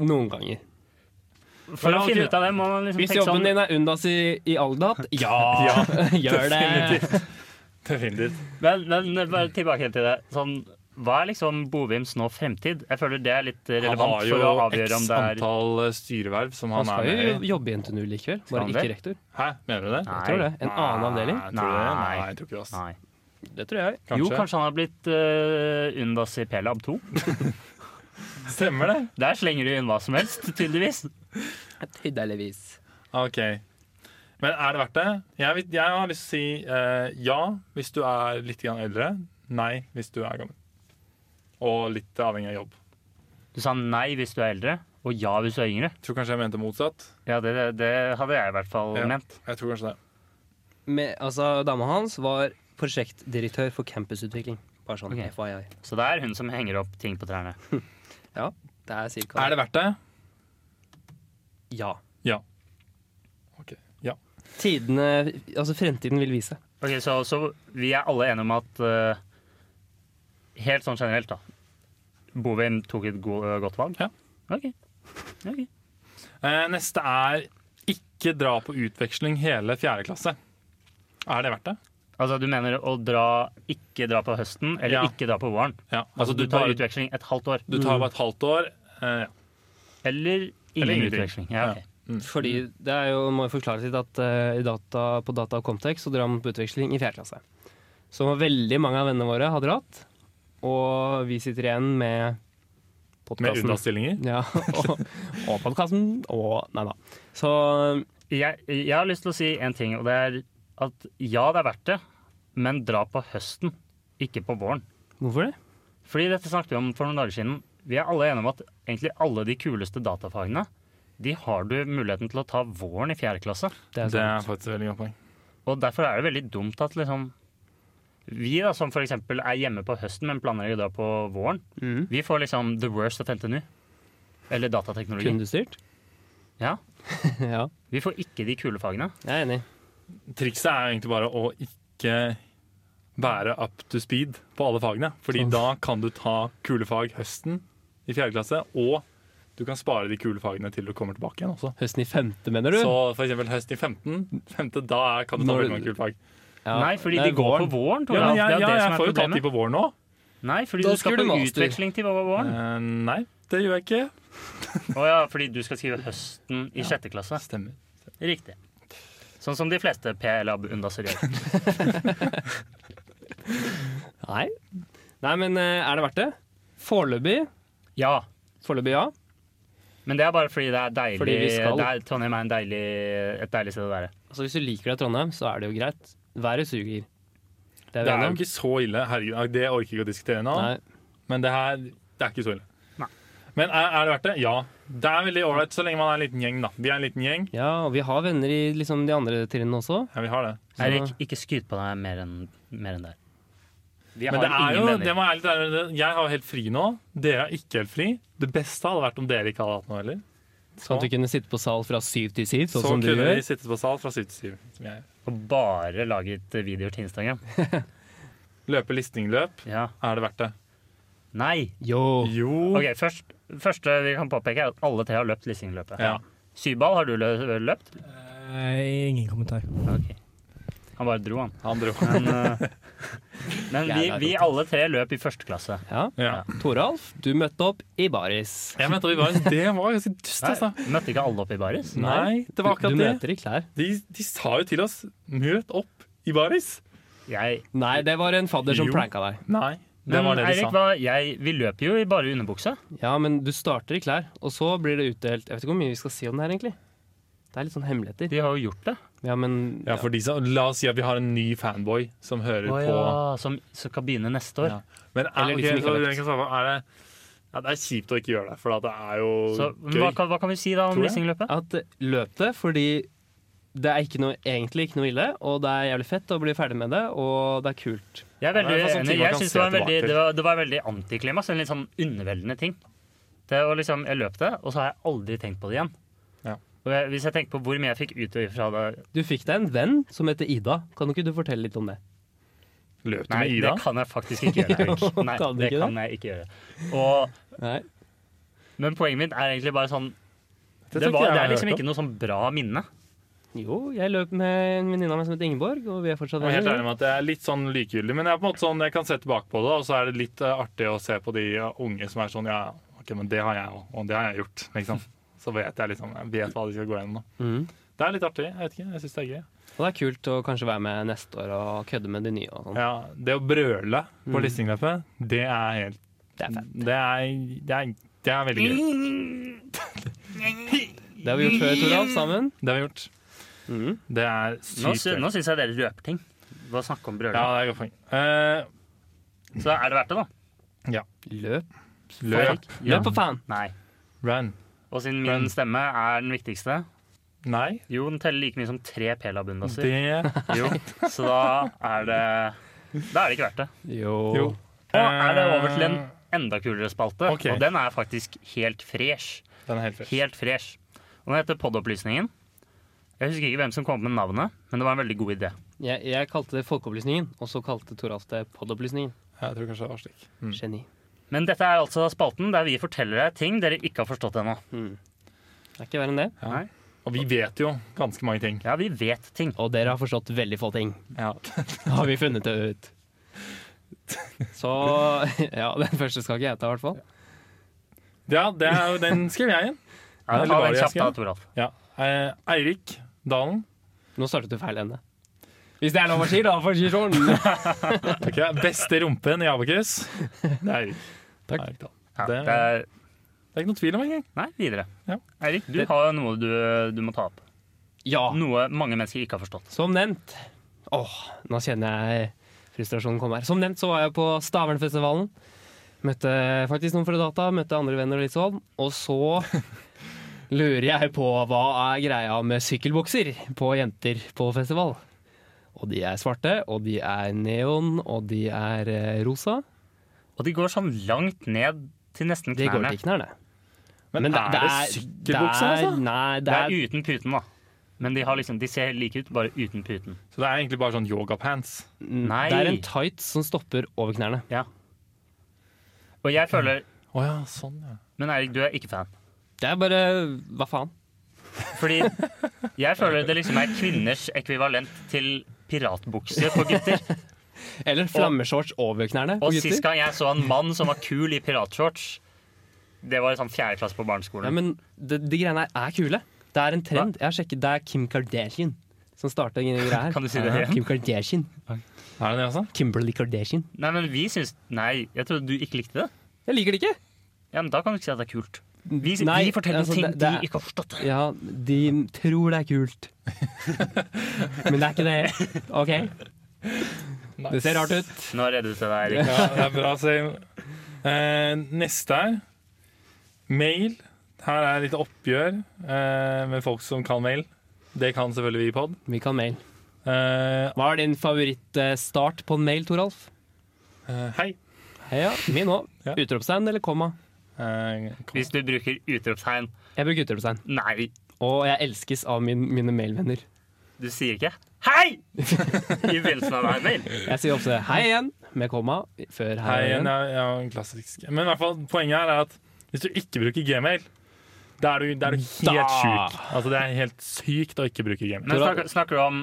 noen ganger. For å Men ok. finne ut av det må man liksom Hvis tenke jobben sånn din er undas i, i Aldat, ja, Ja, gjør det! definitivt. definitivt. Men, men bare tilbake til det. Sånn, hva er liksom Bovims nå fremtid? Jeg føler det er litt Han relevant har jo for å avgjøre om x det er antall eh, styreverv som Han han, skal er jo med i. jobbe i NTNU likevel, han bare det? ikke rektor. Hæ, mener du det? Nei. Jeg tror det. En annen avdeling. Nei, tror du det? Nei. Nei, jeg tror ikke det. ass. Nei. Det tror jeg. Kanskje. Jo, kanskje han har blitt uh, Undas i Pelab 2. Stemmer det? Der slenger de inn hva som helst, tydeligvis. Tydeligvis. Ok. Men er det verdt det? Jeg, vil, jeg har lyst til å si eh, ja hvis du er litt grann eldre. Nei hvis du er gammel. Og litt avhengig av jobb. Du sa nei hvis du er eldre, og ja hvis du er yngre. Jeg tror kanskje jeg mente motsatt. Ja, det, det, det hadde jeg i hvert fall Ja. ment. Jeg tror kanskje det. Med, altså, dama hans var prosjektdirektør for campusutvikling. Bare sånn Ok. FYI. Så det er hun som henger opp ting på trærne. Det er cirka Er det verdt det? Ja. Ja. Ok, ja. Tidene Altså, fremtiden vil vise. Ok, Så, så vi er alle enige om at eh, Helt sånn generelt, da. Bovim tok et go eh, godt valg? Ja. Ok. Ok. Eh, neste er ikke dra på utveksling hele fjerde klasse. Er det verdt det? Altså Du mener å dra, ikke dra på høsten eller Ja. ikke dra på våren? Ja. Altså Du tar utveksling et halvt år. du tar bare et halvt år. Eh, ja. Eller ingen ingenting. utveksling. Ja, ok. Mm. Fordi det er jo, må jo forklare litt at eh, i data, på Data og Comtex så drar man på utveksling i fjerde klasse. Som veldig mange av vennene våre har dratt. Og vi sitter igjen med Med podkasten. unna-stillinger. Ja, og, og podkasten og Nei da. Så eh, Jeg, jeg har lyst til å si en ting, og det er at ja, det er verdt det, men dra på høsten, ikke på våren. hvorfor det? Fordi dette snakket vi om for noen dager siden. Vi er alle enige om at egentlig alle de kuleste datafagene, de har du muligheten til å ta våren i fjerde klasse. Det er Det sant. er faktisk et veldig godt poeng. Og derfor er det veldig dumt at liksom vi da, som f.eks. er hjemme på høsten, men planlegger å dra på våren, Mhm. vi får liksom the worst of NTNU. Eller datateknologi. Kundestyrt? Ja. ja, Vi får ikke de kule fagene. jeg er enig. Trikset er egentlig bare å ikke være up to speed på alle fagene. Fordi da kan du ta kule fag høsten i fjerde klasse, og du kan spare de kule fagene til du kommer tilbake igjen også. Høsten i femte, mener du? Så for eksempel høst i 15, femte, da er- kan du ta Når- veldig mange kule fag. Ja, Nei, fordi det er de går våren. på våren, Ja, Tora. det men jeg, ja, er jo det jeg som får er jo tatt de problemet. på våren nå. Nei, fordi Da du skal skriver på du master. utveksling til våren. Eh, nei, det gjør jeg ikke. Å ja, fordi du skal skrive høsten i sjette klasse. Stemmer. Riktig. Sånn som de fleste PLAB-undaser gjør. Nei. Nei, men eh, er det verdt det? Foreløpig, Ja, foreløpig ja. men det er bare fordi det er deilig. Fordi vi skal. Det er, Trondheim er en deilig, et deilig sted å være. Altså, hvis du liker deg i Trondheim, så er det jo greit. Været suger. Det Det er jo ikke så ille. Herregud, ah, det orker jeg ikke å diskutere nå. Nei. Men det her det er ikke så ille. Nei. Men er, er det verdt det? Ja. Det er veldig ålreit så lenge man er en liten gjeng, da. Vi er en liten gjeng. Ja, og vi har venner i liksom, de andre trinnene også. Ja, vi har det. Så- Eirik, ikke skryt på deg mer enn mer enn der. Vi har Men det er jo, ingen venner. det må jeg, være litt ærlig med. jeg har jo helt fri nå. Dere er ikke helt fri. Det beste hadde vært om dere ikke hadde hatt noe heller. Sånn at du kunne sitte på sal fra syv til syv, så sånn som du kunne gjør. vi sittet på sal fra 7 til 7. Som jeg. Og bare laget videoer til Instagram. Løpe listingløp. Ja. Er det verdt det? Nei. Yo. Jo. Ok, først, første vi kan påpeke, er at alle tre har løpt Lissingløpet. Ja. Sybal, har du lø- løpt? Eh, ingen kommentar. Ok. Han bare dro, han. Han dro. Men, eh, men vi, vi alle tre løp i første klasse. Ja. Ja. Toralf, du møtte opp i baris. Jeg mente at vi var Det var ganske dust, altså. Møtte ikke alle opp i baris? Nei, det Du, var akkurat du det. møter i klær. De, de sa jo til oss 'møt opp i baris'. Jeg, Nei, det var en fadder som Jo. pranka deg. Nei, det men var det de Eirik, sa. hva, jeg, vi løp jo i bare underbukse. Ja, men du starter i klær, og så blir det utdelt Jeg vet ikke hvor mye vi skal si om det her, egentlig. Det er litt sånn hemmeligheter. De har jo gjort det. Ja, men Ja, for de som, La oss si at vi har en ny fanboy som hører Å på. ja, som, som skal begynne neste år. Ja. Men er, Eller de som ok, ikke så har jeg kan svare på, er det Ja, det er kjipt å ikke gjøre det, for at det er jo Så gøy. hva, kan- hva kan vi si da om Tror jeg. Risingløpet? At eh, løp det, fordi det er ikke noe, egentlig ikke noe ille, og det er jævlig fett å bli ferdig med det, og det er kult. Jeg er veldig Ja, det er sånn uenig. ting man Jeg kan synes se det var en veldig, tilbake til. det var, det var en veldig antiklimaks. En litt sånn underveldende ting. Det var liksom, Jeg løp det, og så har jeg aldri tenkt på det igjen. Ja. Og jeg, hvis jeg tenker på hvor mye jeg fikk ut fra det Du fikk deg en venn som heter Ida. Kan ikke du fortelle litt om det? Løp du Nei, med det Ida? kan jeg faktisk ikke gjøre. Erik. Jo, Nei, kan du det ikke det? kan jeg ikke gjøre. Og, Nei. men poenget mitt er egentlig bare sånn Det Det, tror ikke var, jeg det har er liksom hørt om. ikke noe sånn bra minne. Jo, jeg løp med en venninne av meg som heter Ingeborg, og vi er fortsatt Jeg er helt ærlig venner. med at det er litt sånn likegyldig, men jeg, er på en måte sånn, jeg kan se tilbake på det, og så er det litt eh, artig å se på de eh, unge som er sånn Ja, ok, men det har jeg òg, og det har jeg gjort, liksom. Så vet jeg liksom, jeg vet hva de skal gå gjennom. da. Mm. Det er litt artig. Jeg vet ikke, jeg syns det er gøy. Og det er kult å kanskje være med neste år og kødde med de nye og sånn. Ja, det å brøle på Mm. listingløpet, det er helt Det er fett. Det er, det er, det er veldig gøy. Det har vi gjort før, Toralf, sammen. Det har vi gjort. Mm. Det er Nå, sykt sy gøy. nå syns jeg dere røper ting. Ved å snakke om Ja, brøler. det er et godt poeng. Eh, Så er det verdt det, da? Løp. løp, Ja. Løp for faen! Nei. run. Og siden min stemme er den viktigste Nei, Jo, den teller like mye som tre P-labundaser. det Jo, så da er det Da er det ikke verdt det. Jo. Jo. Nå er det over til en enda kulere spalte, Eh, Ok. og den er faktisk helt fresh. Den er helt fresh. Helt fresh. Og den heter Podopplysningen. Jeg husker ikke hvem som kom opp med navnet, men det var en veldig god idé. Jeg, jeg kalte det Folkeopplysningen, og så kalte Toralf det Podopplysningen. Jeg tror kanskje det var slik. Mm. Geni. Men dette er altså spalten der vi forteller deg ting dere ikke har forstått ennå. Det er ikke verre enn det. Ja. Nei. Og vi vet jo ganske mange ting. Ja, vi vet ting. Og dere har forstått veldig få ting. Ja. Har vi funnet det ut. Så Ja, den første skal ikke jeg ta, i hvert fall. det er jo den skrev jeg igjen. Ja, Eller ta var den det jeg kjapt da, skrev? Toralf. Ja. Eh, Eirik Dalen. Nå startet du feil ende. Hvis det er lov å si, da, for å si sånn. Ok, Beste rumpen i Abakus. Det er Eirik. Takk. Eirik Dalen. Ja, Det- det er, Det er ikke noe tvil om engang. nei, videre. Ja. Eirik, du har noe du, du må ta opp. Ja. Noe mange mennesker ikke har forstått. Som nevnt Åh, nå kjenner jeg frustrasjonen komme her. Som nevnt så var jeg på Stavernfestivalen. Møtte faktisk noen fra data, møtte andre venner og litt sånn. Og så lurer jeg på hva er greia med sykkelbukser på jenter på festival. Og de er svarte, og de er neon, og de er eh, rosa. Og de går sånn langt ned til nesten De går knærne. til knærne. Men, det- er det det, sykkelbukse, det er- altså? Nei, Det er uten puten, da. Men de, har liksom, de ser like ut, bare uten puten. Så det er egentlig bare sånn yogapants. Nei. det er en tights som stopper over knærne. Ja. Og jeg føler Å ja, sånn, ja. Men Eirik, du er ikke fan. Det er bare Hva faen? Fordi jeg føler det liksom er kvinners ekvivalent til piratbukse på gutter. Eller flammeshorts over knærne på Og sist gutter. gang jeg så en mann som var kul i piratshorts, det var i sånn fjerde klasse på Ja, barneskolen. men de, de greiene her er kule. Det er en trend. Jeg har sjekket, Det er Kim Kardashian som starta denne greia her. Kan du si det Ja, igjen? Kim Kardashian. Er det det, altså? Kimberly Kardashian. Nei, men vi syns Nei, jeg trodde du ikke likte det. Jeg liker det ikke. Ja, men Da kan du ikke si at det er kult. Vi, Nei, vi forteller altså, ting det- det er- de ikke har forstått. Ja, de tror det er kult. Men det er ikke det. OK? Det ser rart ut. Nå reddet jeg deg, Eirik. Ja, det er bra, Sim. Eh, neste er mail. Her er litt oppgjør eh, med folk som kan mail. Det kan selvfølgelig vi i pod. Vi kan mail. Eh, Hva er din favorittstart på en mail, Toralf? eh, hei. Heia, min òg. Ja. Utropstegn eller komma? Eh, kom. Hvis du bruker utropstegn Jeg bruker utropstegn. Nei, Og jeg elskes av min, mine mailvenner. du sier ikke 'hei' i begynnelsen av hver mail. Jeg sier ofte hei igjen med komma før hei, Hei, igjen. ja, ja, klassisk. Men i hvert fall, poenget her er at hvis du ikke bruker gmail, da er du, da er du Da. helt sjuk. Altså, det er helt sykt å ikke bruke gmail. Men snakker, snakker du om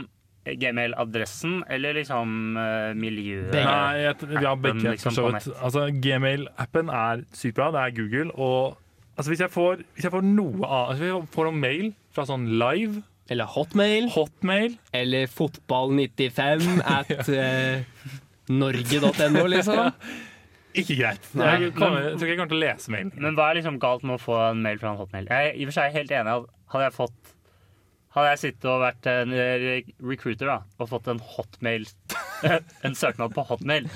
gmail-adressen eller liksom eh, miljøet? Begge. Nei, jeg, ja, begge, liksom, for så på vidt. Altså, Gmail-appen er sykt bra. Det er Google. Og altså, hvis, jeg får, hvis jeg får noe av altså, Hvis jeg får noen mail fra sånn live, Eller hotmail. hotmail Eller fotball95 at eh, norge.no, liksom. Ikke greit. Nei, jeg, kommer, jeg tror ikke jeg kommer til å lese mailen. Men hva er liksom galt med å få en mail fra en hotmail? Jeg er i og for seg helt enig. at Hadde jeg fått Hadde jeg sittet og vært en eh, recruiter da, og fått en hotmail en søknad på hotmail.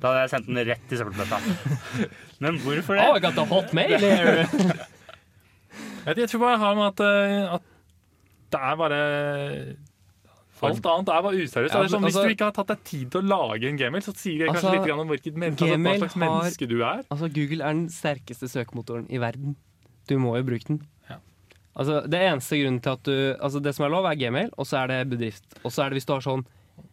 Da hadde jeg sendt den rett til søppelbøtta. Men hvorfor Oh, I det? got the hot mail here! Jeg, jeg tror bare jeg har med at, eh, at det er bare Alt annet er bare useriøst. Ja, det er sånn, men hvis altså- du ikke har tatt deg tid til å lage en gmail, så sier jeg kanskje Altså, litt grann om hvilket men, altså, hva Gmail slags har- menneske du er. Altså, Google er den sterkeste søkemotoren i verden. Du må jo bruke den. Ja. Altså, det eneste grunnen til at du Altså, det som er lov, er gmail, og så er det bedrift. Og så er det hvis du har sånn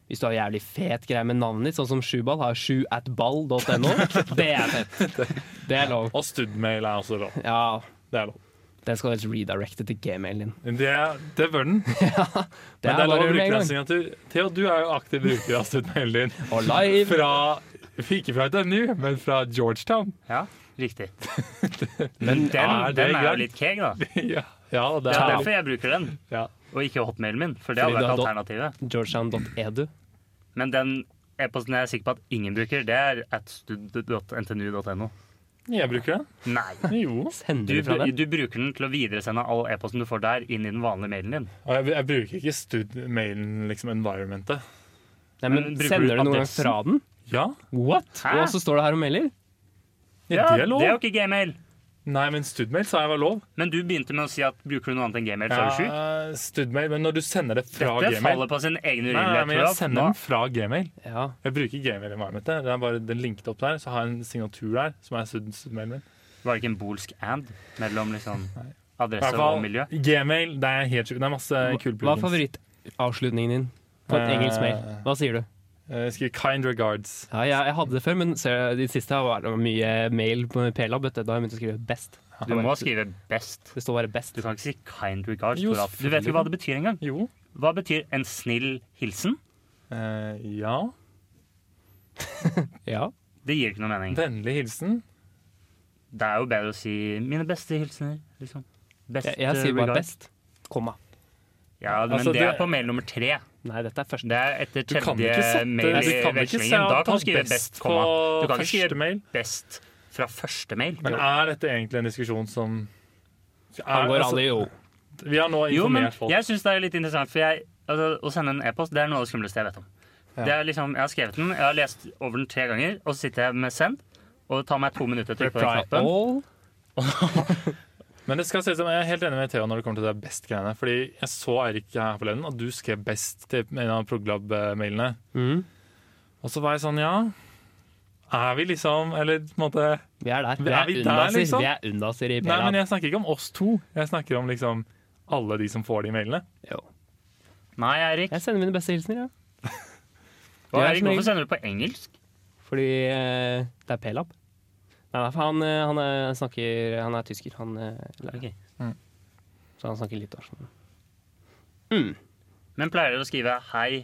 hvis du har jævlig fet greie med navnet ditt, sånn som Sjuball har sjuatball.no. Det er fett. Det er lov. Og studmail er også lov. Ja, Det er lov. den skal helst redirecte til gmailen din. Det, det bør den. Det Men det er lov å med bruke en den gang. signatur. Theo, du er jo aktiv bruker av studmailen din. Og live. Fra, ikke fra NTNU, men fra Georgetown. Ja, riktig. Men den, Ja, er det den er jo greit? litt keeg, da. ja, ja, det Det er er derfor jeg bruker den, Ja. og ikke hotmailen min. For det hadde Fordi vært du alternativet. Georgetown.edu. Men den e-posten jeg er sikker på at ingen bruker, det er atstud.ntnu.no. Jeg bruker den. Nei. Jo. Du, Sender du fra br- den? du bruker den til å videresende all e-posten du får der, inn i den vanlige mailen din. Og jeg, jeg bruker ikke studmailen, liksom environmentet. Nei, men Men bruker du Sender du noen gang adressen? fra den? Ja, What? Hæ? Og så står det her og melder? ja det er lov. det er jo ikke gmail. Nei, men studmail sa jeg var lov. Men du begynte med å si at bruker du noe annet enn gmail, så er du sjuk. Ja, studmail, men når du sender det fra Dette gmail faller på sin egen Nei, nei, men jeg urimelighet. tror sender den fra gmail. Ja. Jeg bruker gmail i environmentet. Det er bare den linket opp der, så har jeg en signatur der som er stud studmailen min. Nå Var det ikke en bolsk and mellom liksom I hvert adresse og miljø? fall gmail, det er helt sjukt. Det er masse kule Hva er favorittavslutningen din på et Eh, engelsk mail? Hva sier du? Jeg skriver Eh, 'kind regards'. Ja, jeg, jeg hadde det før, men ser jeg- de siste har vært mye mail på P-lab. vet du. Da har jeg begynt å skrive 'best'. Du må skrive best. Det står bare 'best'. Du kan ikke si kind regards. Jo, Tor Alf. Du vet ikke hva det betyr engang. Jo. Hva betyr en snill hilsen? Eh, ja. Ja. Det gir ikke noe mening. Vennlig hilsen. Det er jo bedre å si 'mine beste hilsener'. liksom. Best Jeg, jeg sier bare regards. 'best'. Komma. Ja, men Altså, det, det- er på mail nummer tre. Nei, dette er første. Det er etter Du kan ikke tredje sette mail du i kan ikke se vekslingen. Da at kan du skrive best best, på komma. Du kan ikke første skrive mail. best fra første mail. Men er dette egentlig en diskusjon som er, Angår altså, alle, jo. Vi har nå Jo, men informert folk. jeg syns det er litt interessant, for jeg, altså, å sende en e-post det er noe av det skumleste jeg vet om. Ja. Det er liksom, Jeg har skrevet den, jeg har lest over den tre ganger, og så sitter jeg med send. Og det tar meg to minutter å trykke på den Reply knappen. all. Men det skal sies at jeg er helt enig med Theo når det kommer til det best-greiene. Fordi jeg så Eirik her forleden, og du skrev best til en av Proglab-mailene. Mhm. Mm. Og så var jeg sånn, ja Er vi liksom Eller på en måte Vi er der. Vi Er er vi der, unnaser. liksom? Vi er unnaser i Nei, men P-lab. jeg snakker ikke om oss to. Jeg snakker om liksom alle de som får de mailene. Jo. Nei, Eirik. Jeg sender mine beste hilsener, ja. Og jeg er Eirik, som regel- hvorfor sender du på engelsk? Fordi eh, det er P-lab. Nei, nei, for han, eh, han er, snakker Han er tysker. Han, eh, lærer. Ok. Så han snakker litt norsk. Men pleier dere å skrive hei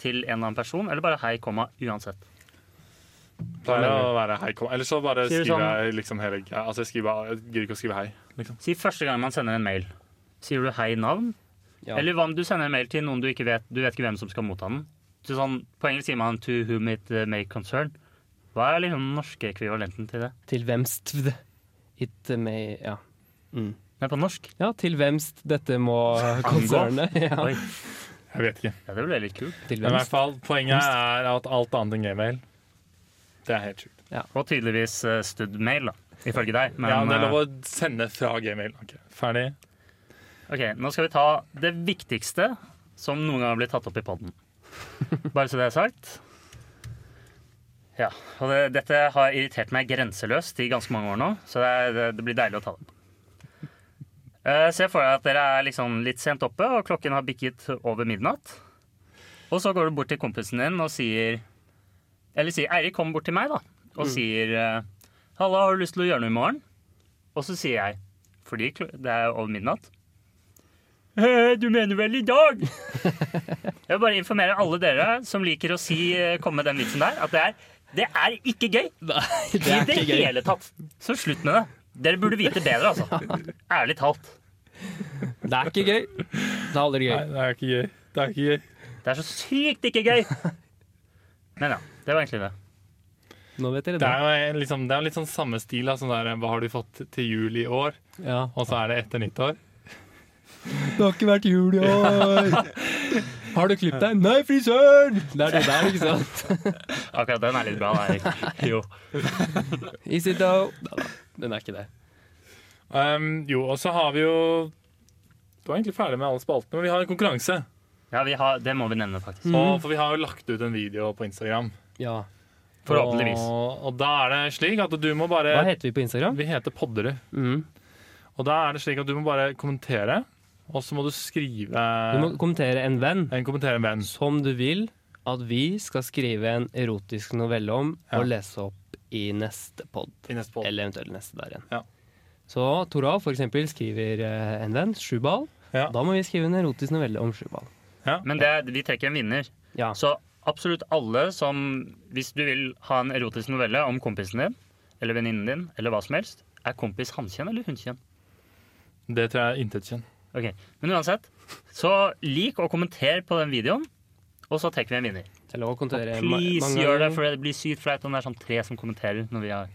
til en annen person, eller bare hei, komma, uansett? Pleier å være hei, kom. Eller så bare Sier du skriver sånn- jeg liksom hele ja, Altså, jeg, skriver, bare- jeg gidder ikke å skrive hei. Liksom. Si første gang man sender en mail. Sier du hei navn? Ja. Eller hva om du sender en mail til noen du ikke vet Du vet ikke hvem som skal motta den? Så sånn, på engelsk sier man 'to whom it eh, may concern'. Hva er liksom den norske ekvivalenten til det? Til hvemst it may Ja. Mm. Nei, på norsk. ja, til hvemst dette må konsernet. Ja. Oi, Jeg vet ikke. ja, det ble litt kult. Til Men i hvert hvemst. fall, poenget er at alt annet enn gmail Det er helt sjukt. Og tydeligvis eh, studmail, da. Ifølge deg. Men, Ja, det er lov eh, å sende fra gmail. Ok, Ferdig. ok, nå skal vi ta det viktigste som noen gang har blitt tatt opp i podden. Bare så det er sagt. Ja, og det, dette har irritert meg grenseløst i ganske mange år nå, så det, er, det, det blir deilig å ta det opp. Eh, Se for deg at dere er liksom litt sent oppe, og klokken har bikket over midnatt. Og så går du bort til kompisen din og sier Eller sier Eirik kom bort til meg, da, og sier eh, 'Halla, har du lyst til å gjøre noe i morgen?' Og så sier jeg, fordi kl- det er over midnatt «Eh, Du mener vel i dag? Jeg vil bare informere alle dere som liker å si, eh, komme med den vitsen der, at det er, det er ikke gøy Nei, i det hele tatt. Så slutt med det. Dere burde vite bedre, altså. Ærlig talt. Det er ikke gøy. Det er aldri Nei, gøy. det er ikke gøy. Det er ikke gøy. Det er så sykt ikke gøy. Men ja, det var egentlig det. Nå vet dere Det det. er jo liksom, det er jo litt sånn samme stil. Da, sånn der, hva har du fått til jul i år? Ja. Og så er det etter nyttår. Det har ikke vært jul i år! Har du klippet deg? Nei, frisøren! Det er det der, ikke sant? Akkurat den er litt bra, da, Erik. Jo. Easy dough. Da, da. Den er ikke det. Um, jo, og så har vi jo Du er egentlig ferdig med alle spaltene, men vi har en konkurranse. Ja, vi har, det må vi nevne, faktisk. Mm. Og, for vi har jo lagt ut en video på Instagram. Ja. Forhåpentligvis. Og, og da er det slik at du må bare Hva heter vi på Instagram? Vi heter Poddere. Mm. Og da er det slik at du må bare kommentere, og så må du skrive Du må kommentere en venn en kommentere en venn. som du vil at vi skal skrive en erotisk novelle om Ja. og lese opp i neste pod. I neste podd. Eller eventuelt neste der igjen. Ja. Så Toralf for eksempel skriver eh, en venn, Sjubal. Ja. Da må vi skrive en erotisk novelle om Sjubal. Men det, vi trekker en vinner. Ja. Så absolutt alle som Hvis du vil ha en erotisk novelle om kompisen din eller venninnen din, eller hva som helst, er kompis hankjønn eller hunnkjønn? Det tror jeg er intetkjønn. Ok, Men uansett, så lik og kommenter på den videoen, og så trekker vi en vinner. Det er lov å kommentere Eh, ma- Please mange gjør det, ganger. for det blir sykt flaut om det er sånn tre som kommenterer når vi har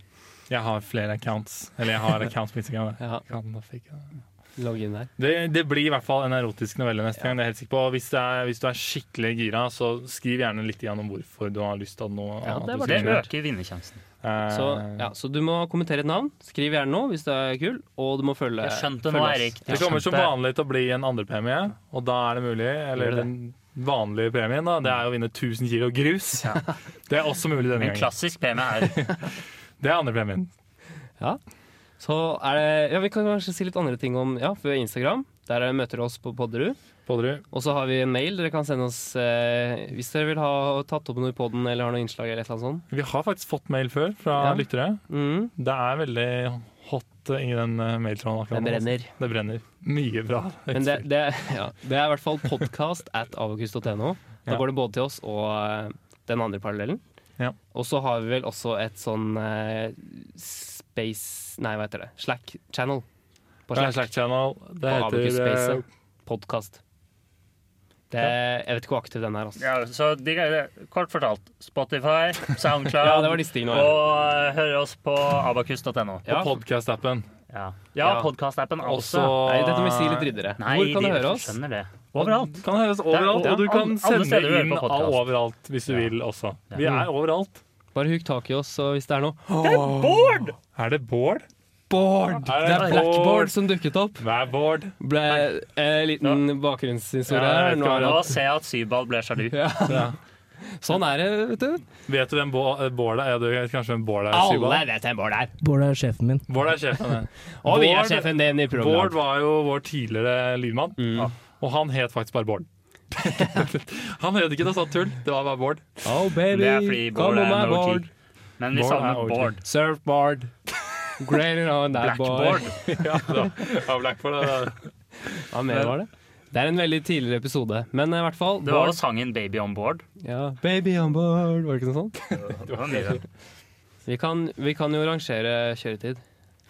Jeg har flere accounts. Eller jeg har accounts på Instagram. da. Ja, Kan da fikk jeg det. logg inn der. Det, det blir i hvert fall en erotisk novelle neste gang. det er jeg helt sikker på. Og Hvis, det er, hvis du er skikkelig gira, så skriv gjerne litt igjen om hvorfor du har lyst til at noe Ja, annet det du var Det skal gjøre. øker vinnersjansen. Eh, Så, ja, så du må kommentere et navn. Skriv gjerne noe hvis det er kul, og du må følge Jeg skjønte nå, følge oss. Erik. Det kommer som vanlig til å bli en andrepremie, og da er det mulig. Eller Gjør det. den vanlige premien, da. Det er å vinne 1000 kilo grus. Det er også mulig denne En gangen. klassisk premie er Det er andrepremien. Så er det, ja, Vi kan kanskje si litt andre ting om ja, for Instagram. Der er- møter dere oss på Podderud. Podderud. Og så har vi en mail dere kan sende oss eh, hvis dere vil ha tatt opp noe i podden eller har noe innslag. eller et eller annet sånt. Vi har faktisk fått mail før fra Ja. lyttere. Mm, Det er veldig hot i den eh, det mailtråden akkurat nå. altså. brenner. Det brenner. Mye bra. Men det, det, ja, det er i hvert fall podcast at avokust.no. Da Ja. går det både til oss og eh, den andre parallellen. Ja. Og så har vi vel også et sånn eh, space Nei, hva heter det? Slack channel. På Det er en Slack. Slack channel. Det På Abacus heter Space, eh, ja. Podcast. Det, Jeg vet ikke hvor aktiv den er. Altså. ja, Så de, kort fortalt, Spotify, SoundCloud Ja, det var disse tingene. og eh, hør oss på abakus.no. og podcast-appen. Ja, ja Ja. podkast-appen Også- altså. Nei, dette må vi si litt ryddere. Nei, Hvor kan de du høre oss? skjønner det. Overalt. Kan høres overalt, Det er- og du ja, kan alle- alle sende steder du hører inn på podcast. overalt hvis du Ja. vil også. Ja. Vi er overalt. Bare huk tak i oss og hvis det er noe. Bård! Er det Bård? Bård! Er Det er Blackboard som dukket opp. Hva er Bård? Ble eh, liten bakgrunnshistorie Ja, her. jeg Nå er Nå det- ser jeg altså. at Syvball ble sjalu. Ja. Sånn er det, vet du. Vet du hvem Bå- eh, Bård er? Ja, du vet kanskje hvem Bård er? Syvald? vet hvem Bård er. Bård er sjefen min. Bård er sjefen. ja. Og vi er Bård- sjefen din i Bård programmet. var jo vår tidligere lydmann, Ja. og han het faktisk bare Bård. han het ikke noe sånt tull, det var bare Bård. Oh Det er fordi baby, Bård come on er my en OG. board. Men vi Bård er savner OG. Bård. Surfboard. Greater on that board. Blackboard. ja, da. ja, Blackboard, da. da. Hva mer var det? Det er en veldig tidligere episode, men eh, i hvert fall Det var Bård- jo sangen 'Baby on Board'. ja, Baby on board, var det ikke noe sånt? Det var mye. Vi kan, vi kan jo rangere kjøretid.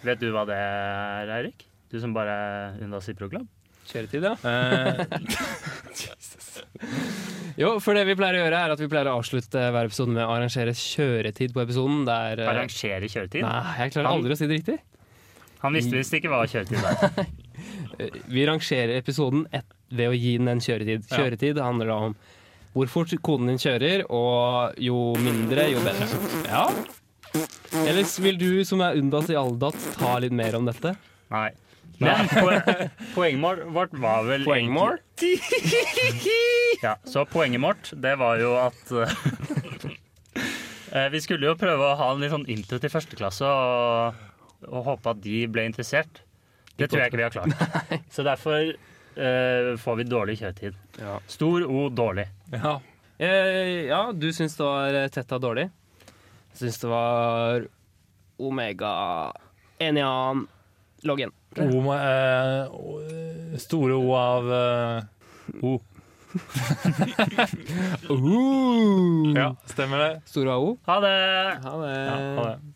Vet du hva det er, Eirik? Du som bare er unna Ciproclub? Kjøretid, ja. Eh, Jo, for det vi pleier å gjøre, er at vi pleier å avslutte hver episode med å arrangere kjøretid på episoden. Det er eh, Arrangere kjøretid? Nei, jeg klarer aldri å si det riktig. Han visste visst ikke hva kjøretid var. Eh, Vi rangerer episoden et, ved å gi den en kjøretid. Ja. Kjøretid handler da om hvor fort koden din kjører, og jo mindre, jo bedre. Ja. Ellers vil du som er undas i Aldat, ta litt mer om dette? Nei. Men po- poenget vårt var vel Poengmål? egentlig- Ja, så poenget vårt, det var jo at eh, Vi skulle jo prøve å ha en litt sånn intro til første klasse og, og håpe at de ble interessert. Det tror jeg ikke vi har klart. Så derfor eh, får vi dårlig kjøretid. Ja. Stor O dårlig. ja. Eh, ja, du syns det var eh, Tetta dårlig. Jeg syns det var Omega Enian Loggen. O må- eh, o- eh, store O av eh, O. Uh. Ja, stemmer det. Uh. Mm. Store AO. Ha det! Ha det. Ja, ha Sånn det.